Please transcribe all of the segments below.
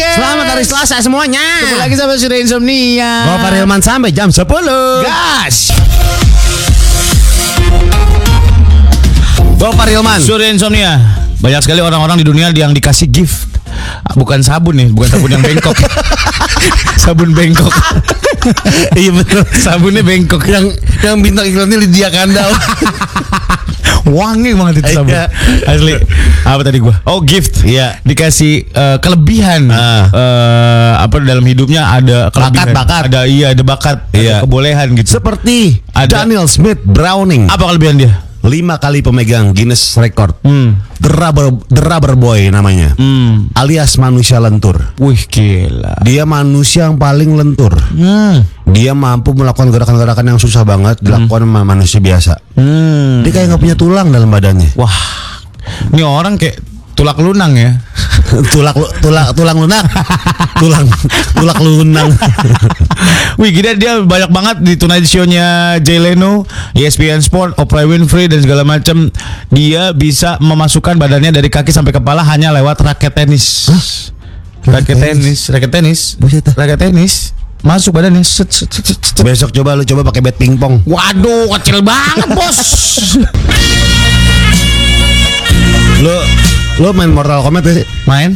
hari Selasa semuanya. Ketemu lagi sama Sudah Insomnia. Gua Farilman sampai jam 10. Gas. Gua Farilman. Sudah Insomnia. Banyak sekali orang-orang di dunia yang dikasih gift. Ah, Bukan sabun nih, bukan sabun yang bengkok. sabun bengkok. Iya betul. Sabunnya bengkok. Yang yang bintang iklannya Lydia Kandau. Wangi banget itu sabun. Iya. Asli. Apa tadi gua? Oh, gift. Iya. Dikasih eh, kelebihan Ah. Eh, apa dalam hidupnya ada kelebihan. Bakat-bakat. Ada iya, ada bakat, Iya. ada kebolehan gitu. Seperti Ada. Daniel Smith Browning. Apa kelebihan dia? lima kali pemegang Guinness Record. The Rubber The Rubber Boy namanya. Hmm. Alias manusia lentur. Wih, gila. Dia manusia yang paling lentur. Hmm. Dia mampu melakukan gerakan-gerakan yang susah banget dilakukan sama manusia biasa. Hmm. Dia kayak nggak punya tulang dalam badannya. Wah, ini orang kayak tulak lunang ya. tulang tulang tulang lunak. tulang tulang lunak. Wih, gila dia banyak banget di Tonight Show-nya Jay Leno, E ESPN Sport, Oprah Winfrey dan segala macam. Dia bisa memasukkan badannya dari kaki sampai kepala hanya lewat raket tenis. Raket Raket tenis, tenis? raket tenis, Buset dah. raket tenis. Masuk badannya. Set, set, set, set, set. Besok coba lu coba pakai bat pingpong. Waduh, kecil banget, Bos. Lu lu main Mortal Kombat gak sih? Main?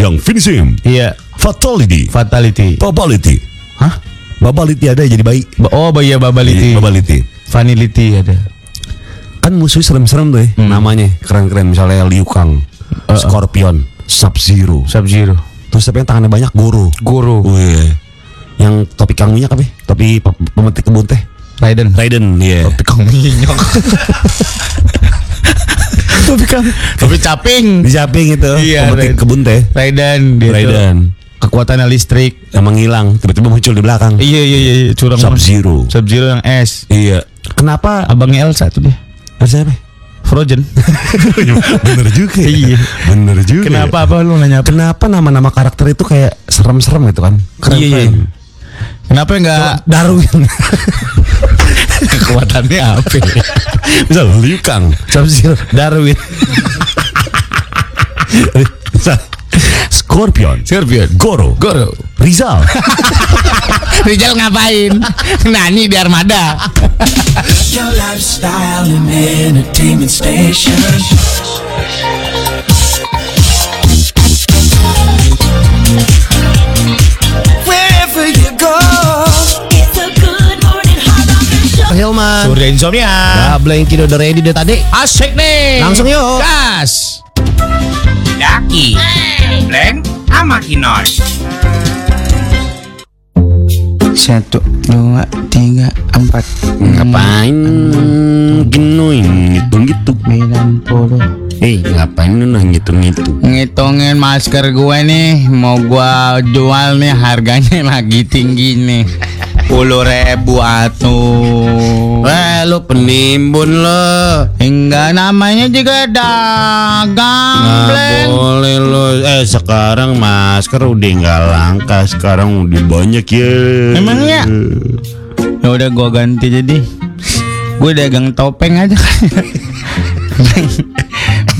yang finishing, Iya, fatality, fatality. babality. Hah? Babaliti ada ya jadi bayi. Ba- Oh, iya babality. Babality. Vanility ada. kan musuh serem-serem tuh ya Hmm. namanya keren-keren misalnya Liu Kang, Eh. Scorpion, Sub Zero, Sub Zero. terus tapi yang tangannya banyak Goro, Guru. Wih. yang topi kang minyak apa? ya? Topi pe- pemetik kebun teh, Raiden. Raiden, iya. Tapi kau minyok. Tapi kan tapi caping. Di samping itu Iya, gitu, pemetik Raiden. Gitu. kebun teh, Raiden dia tuh. Raiden, Kekuatannya listrik. emang hilang, tiba-tiba muncul di belakang, Iya iya iya iya, curang. Sub Zero. Sub Zero yang S. iya. Kenapa? Abangnya Elsa tuh dia. Harusnya apa? Frozen. Bener juga. Iya. ya. Bener juga. Kenapa apa lu nanya apa? Kenapa nama-nama karakter itu kayak serem-serem gitu kan? Keren-keren. Iya, iya. Kenapa Ah. enggak Darwin, kekuatannya apa? Misal Liu Kang. Sub Zero, Darwin. Misal Scorpion. Scorpion. Goro. Goro. Rizal. Rizal ngapain? Nani di armada. Your lifestyle and entertainment station. Wherever you go. It's a good morning, hard rock and show. Hilman, Surya Insomnia. ah, Blanky udah ready deh tadi. Asik nih. Langsung yuk. Gas. Daki, Blank, sama Kinos. Satu, dua, tiga, empat, Ngapain genuin ngitung-ngitung sembilan puluh. Eh ngapain lu nah ngitung-ngitung Ngitungin masker gue nih, mau gua jual nih harganya lagi tinggi nih. Puluh ribu atuh. Eh lu penimbun lo Enggak namanya juga dagang, Nggak bleng. Ah, boleh lo Eh sekarang masker udah nggak langka Sekarang udah banyak ya Emangnya? Ya udah gua ganti jadi. Gue dagang topeng aja. Bleng.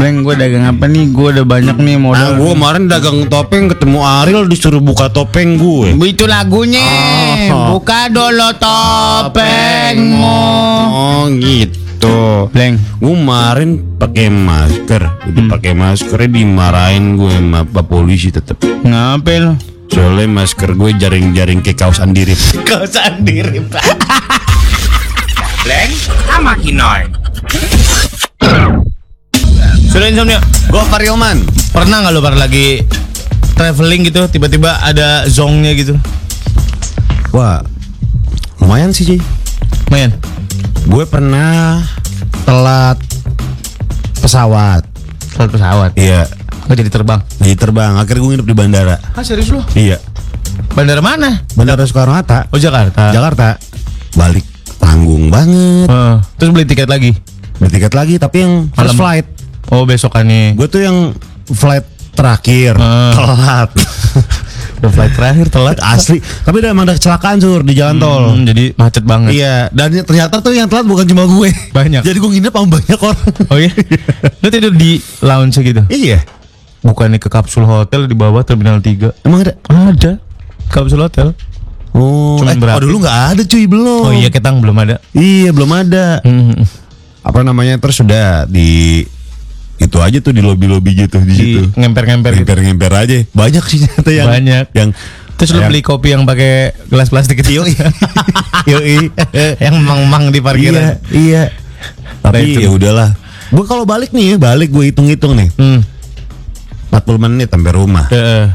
Bleng, gue dagang apa nih? Gue udah banyak Nah, nih modal. gue kemarin dagang topeng ketemu Ariel disuruh buka topeng gue. Itu lagunya. Oh. Buka dulu topengmu. Oh gitu. Bleng. Gue kemarin pakai masker, udah pakai maskernya dimarahin gue sama Pak polisi tetep. Ngapain lo? Soalnya masker gue jaring-jaring ke kaos andirip. Blank, sama Kinos. Surya Insomnia. Gue Farilman. Pernah nggak lo pernah lagi traveling gitu tiba-tiba ada zongnya gitu? Wah, lumayan sih Ji. Men. Gue pernah telat pesawat. Pesawat pesawat. Iya, Lo jadi terbang. jadi terbang. Akhirnya gue nginep di bandara. Ah serius lo? Iya, Bandara mana? bandara Soekarno Hatta, Oh Jakarta. Jakarta. Balik tanggung banget. Eh, Terus beli tiket lagi. Beli tiket lagi, tapi yang Malam. first flight. Oh besokannya. Gue tuh yang flight terakhir, Ah. telat. Udah flight terakhir telat. Asli. Tapi udah emang ada kecelakaan sur di jalan tol. Hmm, jadi macet banget. Iya, dan ternyata tuh yang telat bukan cuma gue. Banyak. Jadi gue nginep sama banyak orang. Oh iya. Lo tidur di lounge gitu. Iya. bukannya ke kapsul hotel di bawah terminal 3 Emang ada? ada kapsul hotel Oh, Cuman eh, oh, berarti. dulu nggak ada cuy belum. oh iya ketang belum ada Iya, belum ada. Mhm. Apa namanya terus sudah di itu aja tuh di lobby lobby gitu di Di situ. ngemper-ngemper gitu. Ngemper-ngemper aja. Banyak sih ternyata yang Banyak. yang Terus lu yang- beli kopi yang pakai gelas plastik itu Yoi. yang mang-mang di parkiran. Iya, iya. Nah, itu. Tapi ya udahlah. Gue kalau balik nih, balik gue hitung-hitung nih. Hmm. 40 menit sampai rumah. Heeh.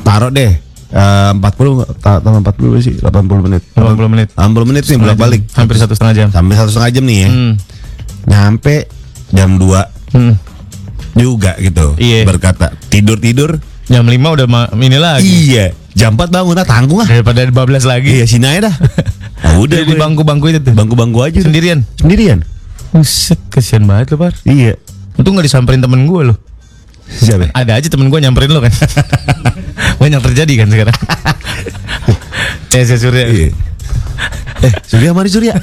Taruh deh. eh, 40 ta- tambah 40 berapa sih 80 menit. 80 menit. 80 menit sih bolak balik. Hampir satu setengah jam. Sampai satu setengah jam nih ya. Hmm. Nyampe jam 2 Hmm. juga gitu. Iya. Berkata tidur-tidur. Jam 5 udah ma- ini lagi. Iya. Jam 4 bangun ah tanggung ah. Daripada 12 lagi. Iya sini aja dah. Nah, udah Udah di gue. bangku-bangku itu tuh. bangku-bangku aja udah. Sendirian. sendirian. Buset, kasihan banget lu, Par. Iya. Untung gak disamperin temen gue loh. Siapa? Ada aja temen gue nyamperin lo kan. Banyak terjadi kan sekarang. Tes Surya. Iya. Eh, Surya mari Surya.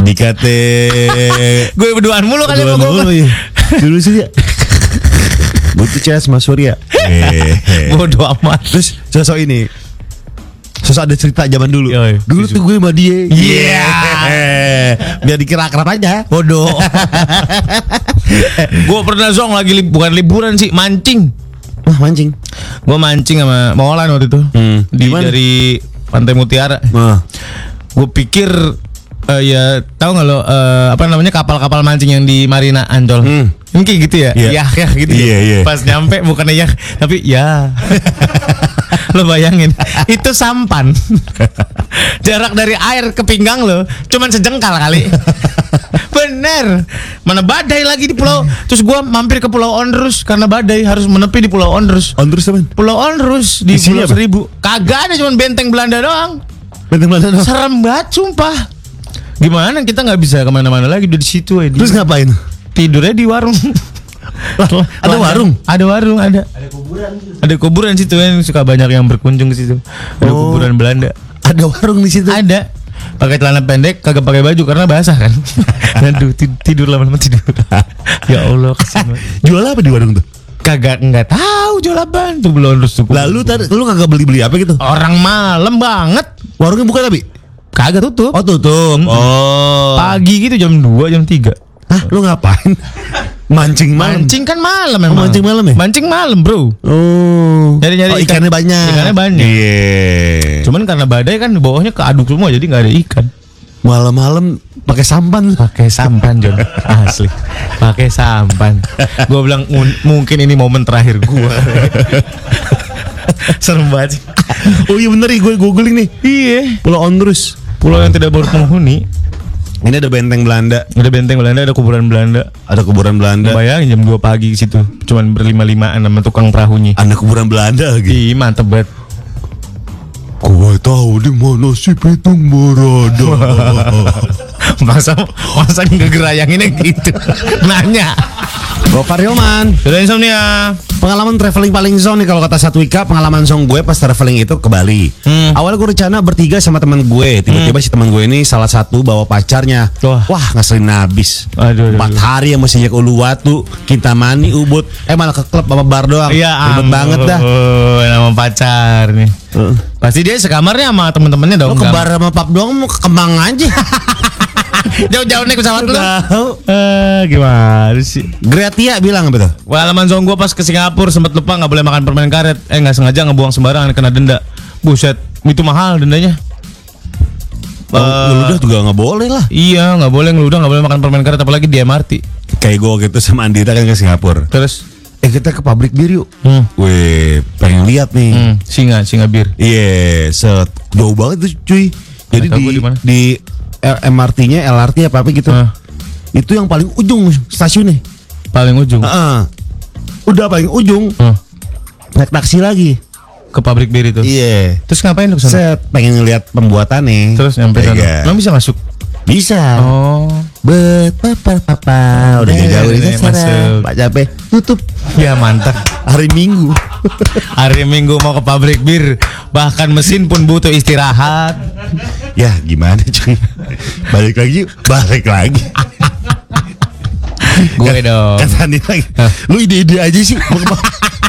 Dikate Gue berduaan mulu kali sama Dua gue. mulu, iya. Dulu Surya. Butuh CS Mas Surya. Hehehe. Bodoh amat. Terus sosok ini Sosok ada cerita zaman dulu Yoi. Dulu tuh gue sama dia Iya. Biar dikira akrab aja Bodoh. gue pernah zong lagi lib- bukan liburan sih, mancing. Wah mancing Gue mancing sama Mawalan waktu itu. Hmm. Di, Di mana? dari Pantai Mutiara. Wah Gue pikir eh, ya tahu nggak lo eh, apa namanya kapal-kapal mancing yang di Marina Ancol. Hmm. Mungkin gitu ya. Iya. Yah, yah gitu. Iya, iya. Pas nyampe bukannya yah, tapi ya. lo bayangin, itu sampan. Jarak dari air ke pinggang lo cuman sejengkal kali. Bener. Mana badai lagi di pulau. Terus gua mampir ke Pulau Onrus karena badai harus menepi di Pulau Onrus. On terus teman Pulau Onrus di Pulau Isinya apa? Seribu. Kagak ada cuman benteng Belanda doang. Benteng Belanda dong. Serem banget sumpah Gimana kita nggak bisa kemana-mana lagi udah di situ aja Terus ngapain? tidurnya di warung ada warung? Ada warung ada Ada kuburan Ada kuburan situ yang suka banyak yang berkunjung ke situ Ada Oh. kuburan Belanda Ada warung di situ Ada pakai celana pendek kagak pakai baju karena basah kan Aduh ti- tidur lama-lama tidur Ya Allah kasihan banget. Jual apa di warung tuh? Kagak nggak tahu jual apaan tuh belum harus cukup. Lalu tadi lu kagak beli-beli apa gitu? Orang malam banget Warungnya buka tapi? Kagak tutup Oh tutup. Oh. Pagi gitu jam 2 jam 3 Hah, lu ngapain? Mancing malam. Mancing kan malam memang. Oh, mancing malam ya? Mancing malam, Bro. Oh. Nyari-nyari Oh, ikannya ikan. banyak. Ikannya banyak. Iya. Cuman karena badai kan di bawahnya keaduk semua jadi nggak ada ikan. Malam-malam pakai sampan. Pakai sampan, Jon. Asli. Pakai sampan. Gua bilang "Un- mungkin ini momen terakhir gua. Serem banget. sih. oh iya bener gue googling nih. Iya. Pulau Ondrus. Pulau yang tidak berpenghuni, Ini ada benteng Belanda, ada benteng Belanda, ada kuburan Belanda. ada kuburan Belanda. Bayangin jam 2 pagi ke situ, cuman berlima-limaan sama tukang perahunya. Ada kuburan Belanda lagi. Ih, mantep banget. Gue tahu di mana si pitung berada. Masa masa ngegerayanginnya gitu. Nanya. Gopar Yoman. Sudah insomnia. Pengalaman traveling paling zong nih kalau kata Satwika, pengalaman zong gue pas traveling itu ke Bali. Hmm. Awalnya gue rencana bertiga sama teman gue, tiba-tiba si teman gue ini salah satu bawa pacarnya. Wah. Wah, ngeselin abis. Aduh, aduh, Empat aduh. hari yang masih Uluwatu, Kintamani, Ubud, eh malah ke klub sama bar doang. Ah, Ribet Iya, ampun, banget dah. Nama pacar nih. Pasti dia sekamarnya sama temen-temennya dong. Lo ke Gam. bar sama pub doang mau ke Kemang aja. Jauh-jauh naik pesawat lu. Tahu. Eh, gimana sih? Gretia bilang apa tuh? Pengalaman zong gua pas ke Singapura sempet lupa nggak boleh makan permen karet. Eh nggak sengaja ngebuang sembarangan kena denda. Buset, itu mahal dendanya. Eh. Lu udah juga nggak boleh lah. Iya, nggak boleh ngeludah, nggak boleh makan permen karet apalagi di MRT. Kayak gue gitu sama Andita kan ke Singapura. Terus Eh kita ke pabrik bir yuk. Hmm. Wih, pengen lihat nih. hmm, singa, singa bir. Iya, set jauh banget tuh cuy. Jadi Nggak tahu di gua di mana. di R- MRT-nya, LRT apa apa gitu. Hah. Itu yang paling ujung stasiunnya. Paling ujung Heeh. Udah paling ujung Hah, naik taksi lagi. ke pabrik bir itu. Iya. Terus ngapain lu kesana? Set pengen ngelihat pembuatannya. Terus nyampe Iya. sana. Emang bisa masuk? Bisa. Oh. Bet papa papa udah Eh, jauh ini ini masuk. sana. Pak Cape tutup Ya mantap. hari Minggu. Hari Minggu mau ke pabrik bir, bahkan mesin pun butuh istirahat. ya gimana cuy? Balik lagi, yuk. balik lagi. Gue dong. Kata Andi lagi Lu ide-ide aja sih Mau ke, pa-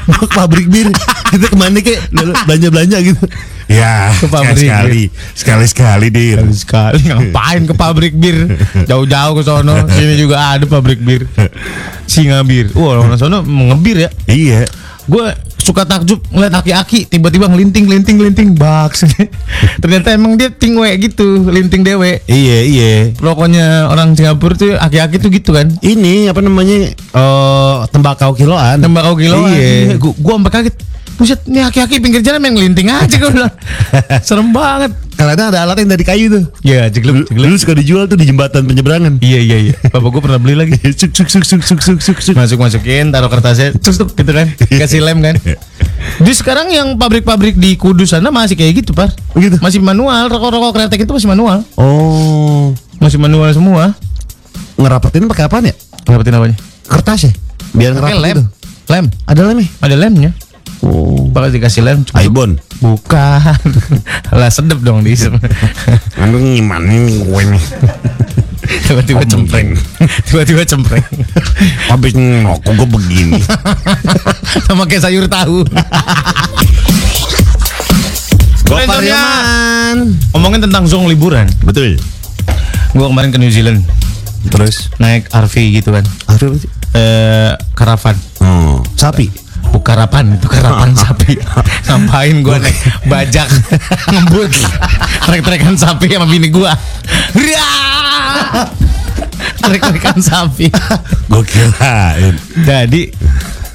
mau ke pabrik bir Kita kemana kek Lalu Belanja-belanja gitu Ya, Ke pabrik, sekali-sekali. Sekali-sekali, Dir. Habis sekali ngapain ke pabrik bir jauh-jauh ke sono sini juga ada pabrik bir singa bir wah orang sono mengebir ya Iya. gue suka takjub ngeliat aki-aki tiba-tiba ngelinting linting linting baks ternyata emang dia tingwe gitu linting dewe Iya iya pokoknya orang Singapura tuh aki-aki tuh gitu kan Ini apa namanya eh Tembakau kiloan tembakau kilo Iya. gue gue sampai kaget Buset, nih aki-aki pinggir jalan main ngelinting aja gue bilang. Serem banget. Karena ada alat yang dari kayu tuh Ya, jeglep, jeglep. Dulu suka dijual tuh di jembatan penyeberangan. Iya, iya, iya. Bapak gue pernah beli lagi. Iya. Suk suk suk suk suk suk suk suk. masuk masukin taruh kertasnya terus tuh gitu kan kasih lem kan di sekarang yang pabrik-pabrik di Kudus sana masih kayak gitu par Gitu. masih manual rokok-rokok kretek itu masih manual Oh masih manual semua Ngerapetin pakai apaan ya dapetin apanya Kertas ya Biar pakai ngerapet lem gitu lem Ada lemnya ada lemnya Oh bakal dikasih lem cuma- Aibon bukan lah sedep dong di Anu gimana nih gue nih? tiba-tiba cempreng tiba-tiba cempreng Habis ngokok gue begini. sama kayak sayur tahu Keren, Gopar Sonia. Yoman ngomongin tentang zong liburan Betul gua kemarin ke New Zealand Terus naik RV gitu kan Apa sih? eh karavan Oh Sapi Oh, karapan itu karapan sapi ngapain gua naik bajak ngebut trek-trekan sapi sama bini gua Riaaah! trek-trekan sapi Gue kirain. jadi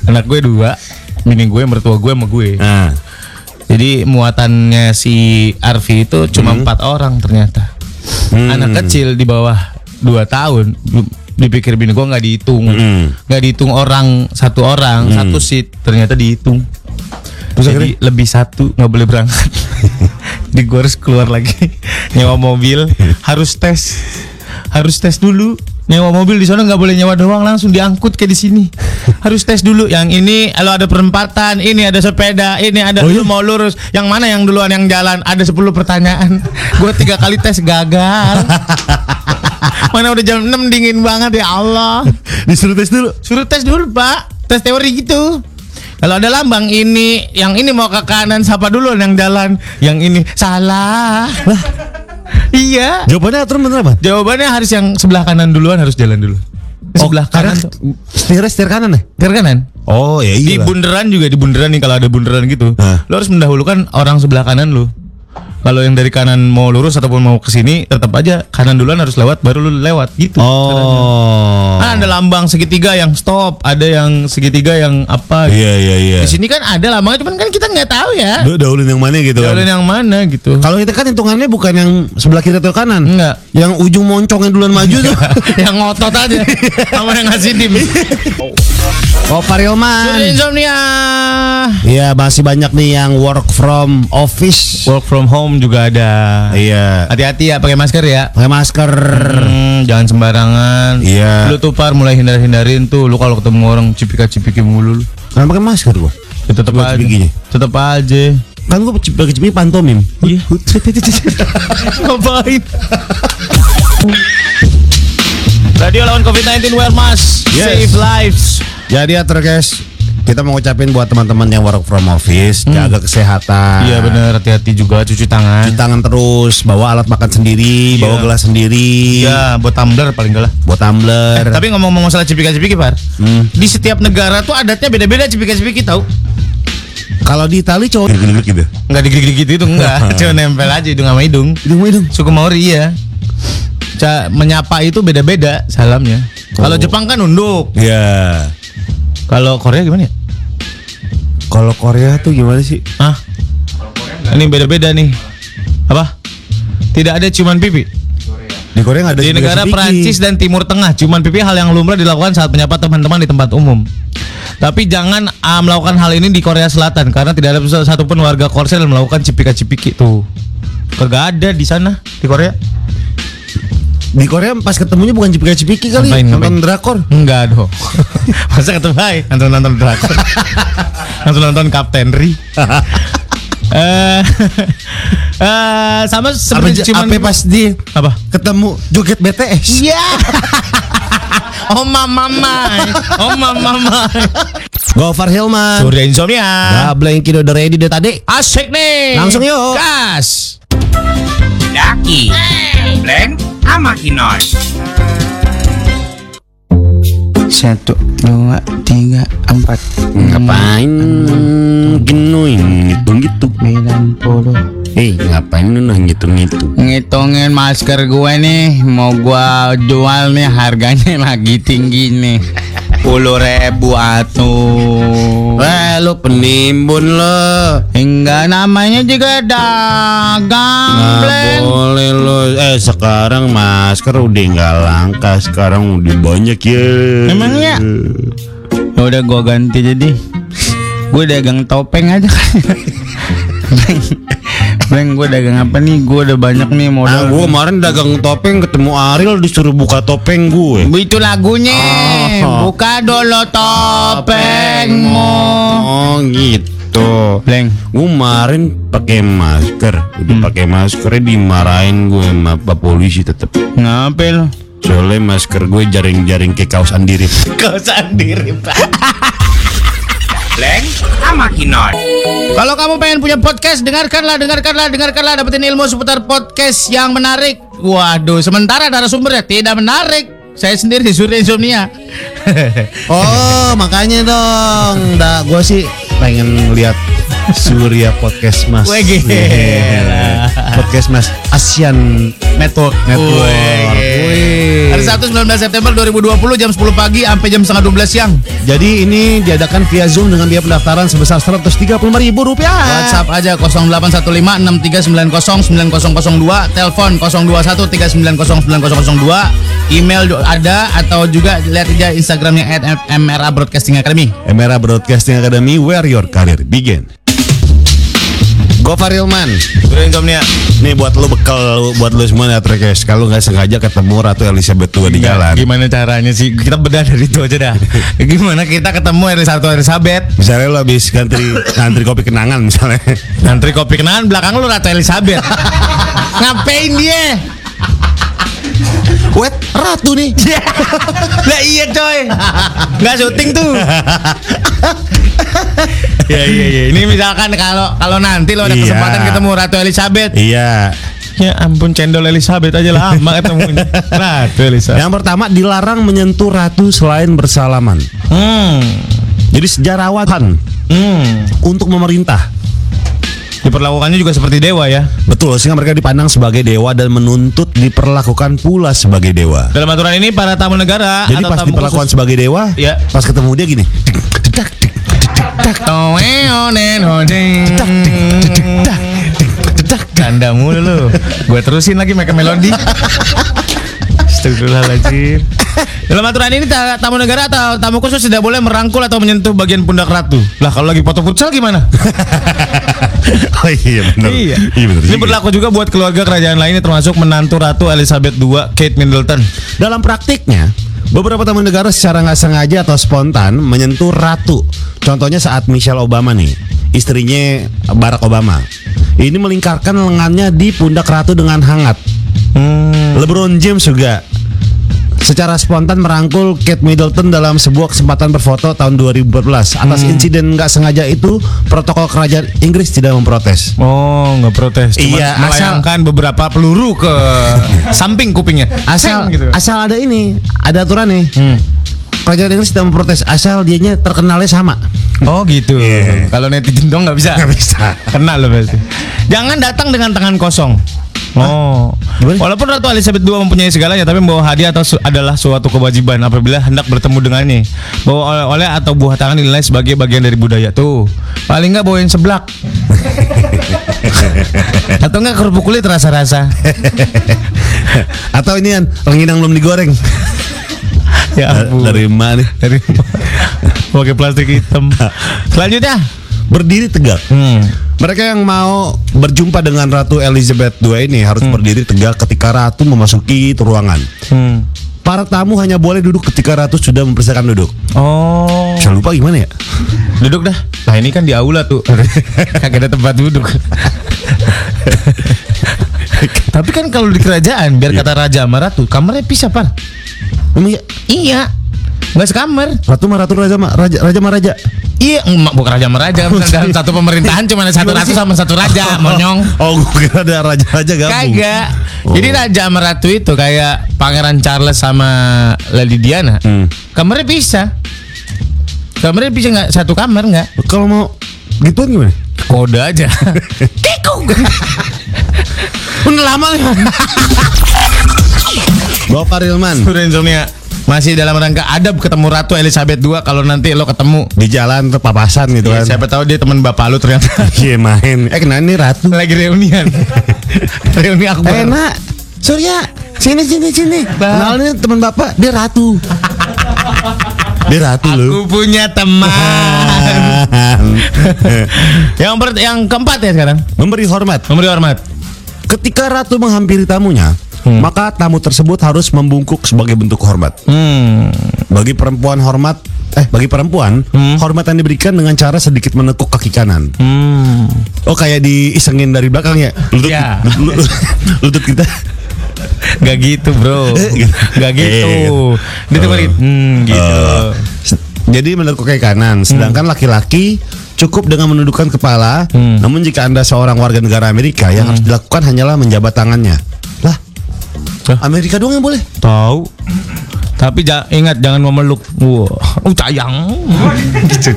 anak gue dua bini gue mertua gue sama gue Nah, jadi muatannya si Arfi itu cuma empat orang ternyata anak kecil di bawah dua tahun belum- dipikir bini gue nggak dihitung Mm. nggak dihitung orang satu orang satu seat ternyata dihitung jadi lebih satu nggak boleh berangkat jadi gue harus keluar lagi nyewa mobil harus tes harus tes dulu nyewa mobil di sana nggak boleh nyewa doang langsung diangkut kayak di sini harus tes dulu yang ini kalau ada perempatan ini ada sepeda ini ada Oh, iya? lu mau lurus yang mana yang duluan yang jalan ada 10 pertanyaan gue tiga kali tes gagal mana udah jam 6 dingin banget ya Allah disuruh tes dulu. Suruh tes dulu pak Tes teori gitu Kalau ada lambang ini Yang ini mau ke kanan Siapa dulu yang jalan Yang ini Salah Iya Jawabannya aturan bener apa? Jawabannya harus yang sebelah kanan duluan Harus jalan dulu Sebelah Oh, kanan tuh. Setirnya setir kanan ya? Kiri kanan Oh ya Di iya lah. bunderan juga Di bunderan nih Kalau ada bunderan gitu Hah. Lo harus mendahulukan Orang sebelah kanan lo kalau yang dari kanan mau lurus ataupun mau ke sini tetap aja kanan duluan harus lewat baru lu lewat gitu. Oh Kan ada lambang segitiga yang stop, ada yang segitiga yang apa Iya iya iya Di sini kan ada lambangnya, cuman kan kita nggak tahu ya. Lu daulin yang mana gitu Jalan kan? yang mana gitu. Kalau kita kan hitungannya bukan yang sebelah kiri atau kanan Enggak. Yang ujung moncong yang duluan maju tuh yang ngotot aja sama yang ngasih dim. Kopar Yoman Insomnia. Oh, Iya masih banyak nih yang work from office Work from home juga ada. Iya Hati-hati ya pakai masker ya. Pakai masker Hmm, jangan sembarangan. Iya. Lu tuh par mulai hindar-hindarin tuh lu kalau ketemu orang cipika-cipiki mulu. lu. Kenapa pakai masker gua? Ya, tetep aja. cipikinya. Tetep aja. Kan gua pakai cipi pantomim Iya. Ngapain? Radio lawan COVID-19 wear mask, Yes. save lives. Jadi ya guys kita mau ngucapin buat teman-teman yang work from office, jaga Hmm. kesehatan. Iya bener hati-hati juga cuci tangan. Cuci tangan terus, bawa alat makan sendiri, bawa gelas sendiri, Iya, buat tumbler paling enggak lah. Hmm. buat tumbler. Tapi ngomong-ngomong masalah cipika-cipiki, Par. Di setiap negara tuh adatnya beda-beda cipika-cipiki tahu. kalau di Itali cowok Gini-gini gitu. Enggak digigit gitu enggak, cuma nempel aja hidung sama hidung. hidung hidung. Suku Maori iya. Ca menyapa itu beda-beda salamnya. Kalau Jepang kan nunduk. Iya. Ya. Kalau Korea gimana ya? Kalau Korea tuh gimana sih? Hah? Ini beda-beda nih. Apa? Tidak ada ciuman pipi. Di Korea nggak ada Di juga negara sepiki. Prancis dan Timur Tengah, ciuman pipi hal yang lumrah dilakukan saat menyapa teman-teman di tempat umum. Tapi jangan ah, melakukan hal ini di Korea Selatan karena tidak ada satu- satupun warga Korsel yang melakukan cipika-cipiki tuh. Kagak ada di sana di Korea. Di Korea pas ketemunya bukan cipika-cipiki kali, Ngapain, nonton ngapain? drakor. Enggak dong. Masa ketemu hai, nonton nonton drakor. nonton nonton Kapten Ri. Eh eh, sama Apa, seperti apa ciuman pas di apa? ketemu joget BTS? Iya. Oh mama mai. Oh mama mai. Gofar Hilman. Ah, Surya Insomnia. Double yang kilo udah ready deh tadi. Asik nih. Langsung yuk. Gas. Daki. Blank sama Kinoy. Satu, dua, tiga, empat. Hmm. Ngapain genuin ngitung gitu? Sembilan puluh. Eh, ngapain lu nah ngitung itu? Ngitungin masker gue nih Mau gue jual nih harganya lagi tinggi nih Puluh ribu atuh Eh, lu penimbun lo. Hingga namanya juga dagang Bleng. boleh lo. Eh, sekarang masker udah nggak langka. Sekarang udah banyak ya. Emangnya? Ya udah gua ganti jadi Gue dagang topeng aja Bleng, Bleng gue dagang apa nih Gue udah banyak nih Nah, modal gue kemarin dagang topeng ketemu Ariel disuruh buka topeng gue. Itu lagunya Oh. Buka dulu topengmu Oh, gitu. Bleng Gue kemarin pakai masker, udah pakai maskernya dimarahin gue sama Pak polisi tetep. Ngapain lo? Soalnya masker gue jaring-jaring ke kaos andirip. Blank sama Kinoy. Kalau kamu pengen punya podcast, dengarkanlah, dengarkanlah, dengarkanlah, dapetin ilmu seputar podcast yang menarik. Waduh, sementara narasumbernya tidak menarik. Saya sendiri Surya Insomnia. Oh, makanya dong. Nah, gue sih pengen lihat Surya Podcast Mas. Weh, gila. Yeah. Podcast Mas Asian Network Network. Weh. Hari Sabtu 19 September 2020 jam 10 pagi sampai jam setengah 12 siang. Jadi ini diadakan via Zoom dengan biaya pendaftaran sebesar Rp135.000. WhatsApp aja 081563909002, telepon 0213909002, email do- ada atau juga lihat aja Instagramnya at @mra Broadcasting Academy. Emera Broadcasting Academy Where Your Career Begin. Gofar Hilman, Surya Insomnia. nih buat lu bekal buat lu semua ya Trekes. Kalau nggak sengaja ketemu Ratu Elizabeth II di Nggak, jalan. Gimana caranya sih? Kita bedah dari itu aja dah. Gimana kita ketemu Elizabeth Elizabeth? Misalnya lo habis ngantri ngantri kopi kenangan misalnya. Ngantri kopi kenangan belakang lu Ratu Elizabeth. Ngapain dia? Wet, Ratu nih. Lah iya coy. Nggak syuting tuh. ya iya iya. Ini misalkan kalau kalau nanti lo ada Iya. kesempatan ketemu Ratu Elizabeth. Iya. Ya ampun cendol Elizabeth aja lama ketemunya. Ratu Elizabeth. Yang pertama dilarang menyentuh ratu selain bersalaman. Hmm. Jadi sejarawan Hmm. untuk memerintah. Diperlakukannya juga seperti dewa ya. Betul, sehingga mereka dipandang sebagai dewa dan menuntut diperlakukan pula sebagai dewa. Dalam aturan ini para tamu negara Jadi pas tamu diperlakukan khusus- sebagai dewa, Iya. pas ketemu dia gini. Canda mulu lu Gue terusin lagi make melodi Astagfirullahaladzim Dalam aturan ini ta- tamu negara atau tamu khusus tidak boleh merangkul atau menyentuh bagian pundak ratu Lah kalau lagi foto futsal gimana? oh iya benar. iya benar. Ini juga. berlaku juga buat keluarga kerajaan lainnya termasuk menantu ratu Elizabeth II Kate Middleton Dalam praktiknya, beberapa tamu negara secara nggak sengaja atau spontan menyentuh ratu. Contohnya saat Michelle Obama nih, istrinya Barack Obama. Ini melingkarkan lengannya di pundak ratu dengan hangat. LeBron James juga secara spontan merangkul Kate Middleton dalam sebuah kesempatan berfoto tahun 2014. Atas insiden nggak sengaja itu, protokol kerajaan Inggris tidak memprotes. Oh nggak protes Cuman Iya asal melayangkan beberapa peluru ke samping kupingnya gitu. asal asal ada ini ada aturan nih kerajaan Inggris sedang memprotes asal dianya terkenalnya sama Oh gitu. Iya. Kalau netizen dong nggak bisa. Nggak bisa. Kena lo pasti. Jangan datang dengan tangan kosong. Oh, Gimana? walaupun Ratu Elizabeth II mempunyai segalanya, tapi membawa hadiah atau su- adalah suatu kewajiban apabila hendak bertemu dengannya. Bawa oleh-oleh atau buah tangan dinilai sebagai bagian dari budaya tuh. Paling nggak bawain seblak. atau nggak kerupuk kulit rasa-rasa. atau ini kan rengginang belum digoreng ya ampun. dari mana nih Dari- pakai plastik hitam. Selanjutnya. berdiri tegak Hmm. mereka yang mau berjumpa dengan Ratu Elizabeth II ini harus berdiri tegak ketika Ratu memasuki ruangan. Hmm. Para tamu hanya boleh duduk ketika Ratu sudah mempersiapkan duduk. Oh. Saya lupa gimana ya? Duduk dah. Nah ini kan di aula tuh. Kagak ada tempat duduk. Iya. Tapi kan kalau di kerajaan biar kata raja sama ratu, kamarnya pisah, Par. Emang iya? Iya. Enggak sekamar. Ratu mah ratu raja mah raja raja mah raja. Iya, emak bukan raja meraja. Bukan dalam satu pemerintahan cuma ada satu ratu sama satu raja, monyong. Oh, gue kira ada raja-raja gabung. Kagak. Jadi raja sama ratu itu kayak pangeran Charles sama Lady Diana. Kamarnya bisa. Kamarnya bisa nggak satu kamar nggak? Kalau mau gituan gimana? Kode aja. Tikung. Udah lama ya. Bapak Rilman Insomnia masih dalam rangka adab ketemu Ratu Elizabeth II kalau nanti lo ketemu. di jalan tuh papasan gitu Ya, kan. siapa tahu dia teman bapak lu ternyata Iya main. Eh kenapa nih ratu? lagi reunian. Reuni aku Enak. Surya, sini sini sini. Bang. Kenalin teman bapak, dia ratu. dia ratu lu. Aku punya teman. yang ber- yang keempat ya sekarang. Memberi hormat. Memberi hormat. Ketika ratu menghampiri tamunya, maka tamu tersebut harus membungkuk sebagai bentuk hormat. Hmm. Bagi perempuan hormat eh bagi perempuan hormat yang diberikan dengan cara sedikit menekuk kaki kanan. Hmm. Oh kayak diisengin dari belakang ya. Lutut Ya. lutut, lutut kita. Gak gitu bro Eh. Gak gitu Dia tuh balik, Hmm gitu Eh, Hmm. Jadi menekuk kaki kanan. Sedangkan laki-laki cukup dengan menundukkan kepala. Hmm. Namun jika Anda seorang warga negara Amerika yang harus dilakukan hanyalah menjabat tangannya. Lah. Hah? Amerika doang yang boleh. Tahu Tapi ja- ingat jangan memeluk Wah Oh sayang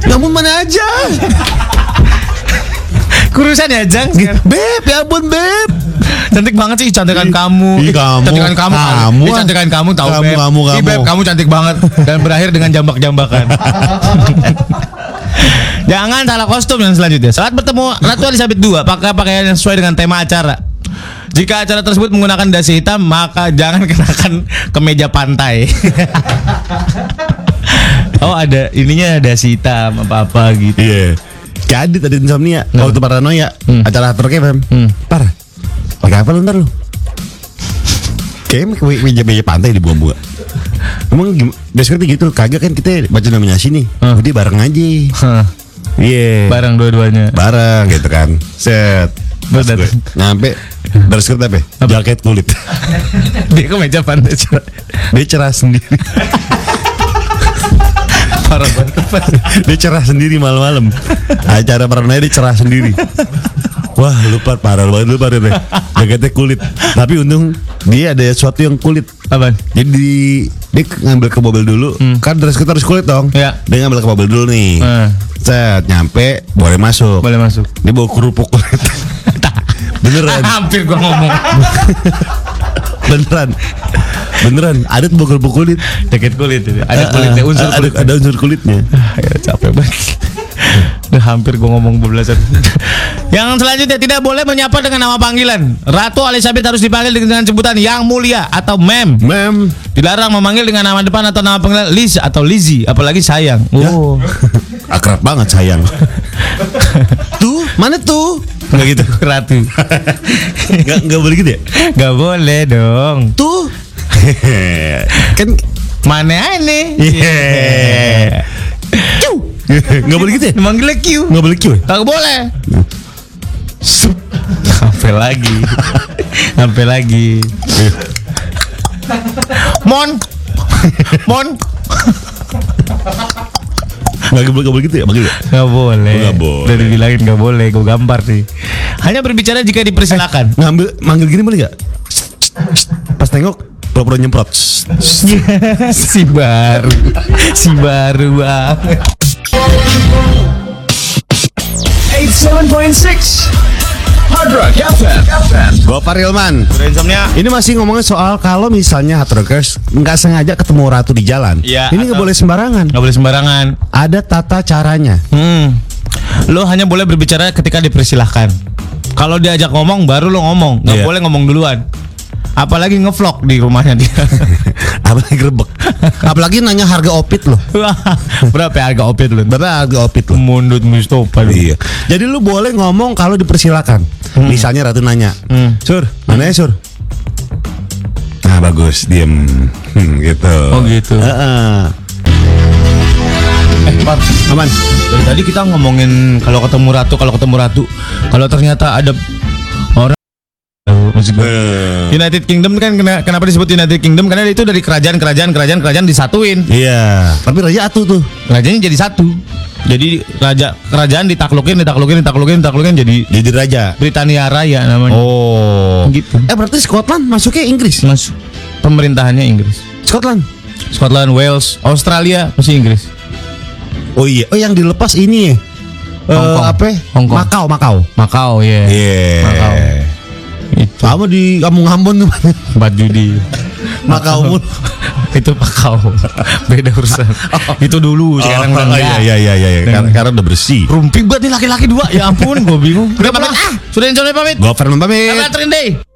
Namun mana aja. Kurusan ya Jang Beb, ya ampun Beb. Cantik banget sih cantikan kamu ih, Ih, kamu. Cantikan kamu Kak. Kamu, Ih, Cantikan kamu tahu Kamu, Beb kamu, Ih, kamu. Beb, kamu cantik banget Dan berakhir dengan jambak-jambakan Jangan salah kostum yang selanjutnya Saat bertemu Ratu Elizabeth II Pakai pakaian yang sesuai dengan tema acara jika acara tersebut menggunakan dasi hitam, maka jangan kenakan kemeja pantai. oh ada ininya dasi hitam apa apa gitu. Iya. Jadi tadi insomnia waktu paranoia acara after camp. Par. Pakai apa lu ntar lu? Kayak meja-meja pantai di buang-buang. Emang gim- biasanya gitu kagak kan kita baca nominasi nih. Hmm. Udah bareng aja. Hah, Iya. barang dua-duanya. Bareng gitu kan. Set. Terus datang. Nyampe dress code apa? ya? Jaket kulit. Dia kemeja pantai cerah. Dia cerah sendiri. Parah banget. Dia cerah sendiri malam-malam. Acara paranoia dia cerah sendiri. Wah lupa parah banget lupa deh. Jaketnya kulit. Tapi untung dia ada sesuatu yang kulit. Apaan? Jadi di- dia ngambil ke mobil dulu. Hmm. Kan dress code harus kulit dong. Iya. Dia ngambil ke mobil dulu nih. Eh. Set nyampe boleh masuk. Boleh masuk. Dia bawa kerupuk kulit. beneran, Hampir gua ngomong. beneran, beneran. Ada tuh bawa kerupuk kulit. Eh, Jaket kulit itu. Ada kulitnya, unsur Ada- kulit. ada unsur kulitnya. Ya, eh, capek banget. Udah hampir gua ngomong bebelasan. Yang selanjutnya tidak boleh menyapa dengan nama panggilan. Ratu Elizabeth harus dipanggil dengan sebutan Yang Mulia atau Mem. Mem, Dilarang memanggil dengan nama depan atau nama panggilan Liz atau Lizzy, apalagi sayang. Oh. akrab banget sayang. tuh, mana tuh? Enggak gitu. Ratu. Nggak, nggak boleh gitu ya? Gak boleh dong. Tuh. kan Mana aneh. yeah. Nggak boleh gitu ya? Manggilnya Q. Nggak boleh gitu ya? cuy. Kagak boleh. Sampai lagi. Sampai lagi. Mon. Mon. Nggak boleh nggak boleh gitu ya? Boleh gitu ya? Gak boleh. Nggak boleh. Udah dibilangin gak boleh. Gue gampar sih. Hanya berbicara jika dipersilakan. Ngambil manggil gini boleh nggak? Pas tengok pura-pura nyemprot. si baru. Si baru banget. 87.6 Hard Rock FM. Bapak Rilman. Ini masih ngomongin soal kalau misalnya hard rockers nggak sengaja ketemu ratu di jalan. Iya, ini nggak atau- boleh sembarangan. Gak boleh sembarangan. Ada tata caranya. Hmm. Lo hanya boleh berbicara ketika dipersilahkan. Kalau diajak ngomong baru lo ngomong, nggak Iya. boleh ngomong duluan. Apalagi ngevlog di rumahnya dia. Apalagi grebek. Apalagi nanya harga opit loh. Wah, Berapa ya harga opit lo? Berapa harga opit loh? Mundut Mustafa lu. Iya. Jadi lu boleh ngomong kalau dipersilakan. Misalnya Ratu nanya, Sur, mana ya Sur? Nah bagus, diem hmm, gitu. Oh gitu. Heeh. Eh, Par, Aman. dari tadi kita ngomongin kalau ketemu ratu, kalau ketemu ratu, kalau ternyata ada orang maksud gue. United Kingdom kan kena- kenapa disebut United Kingdom karena itu dari kerajaan kerajaan kerajaan kerajaan disatuin. Iya, tapi Raja Atu tuh. Rajanya jadi satu. Jadi raja kerajaan ditaklukin ditaklukin ditaklukin ditaklukin jadi Jadi raja. Britania Raya namanya. Oh. Gitu. Eh berarti Scotland masuknya Inggris. Mas pemerintahannya Inggris. Scotland. Scotland, Wales, Australia pasti Inggris. Oh iya, oh yang dilepas ini ya. Hong Kong. Eh, apa? ya? Hong Kong. Makau, Makau. Makau ya. Iya. Makau. Itu Sama di Kampung Ambon tuh. tempat judi. Makau mulu. itu Makau. Beda urusan. Itu dulu sekarang udah oh, enggak. iya iya iya iya. Udah Karena, enggak. karena udah bersih. Rumpi banget nih laki-laki dua. Ya ampun, gue bingung. Udah pamit ah. Sudah insomnia pamit. Gua Ferman pamit. Kabar Trinday.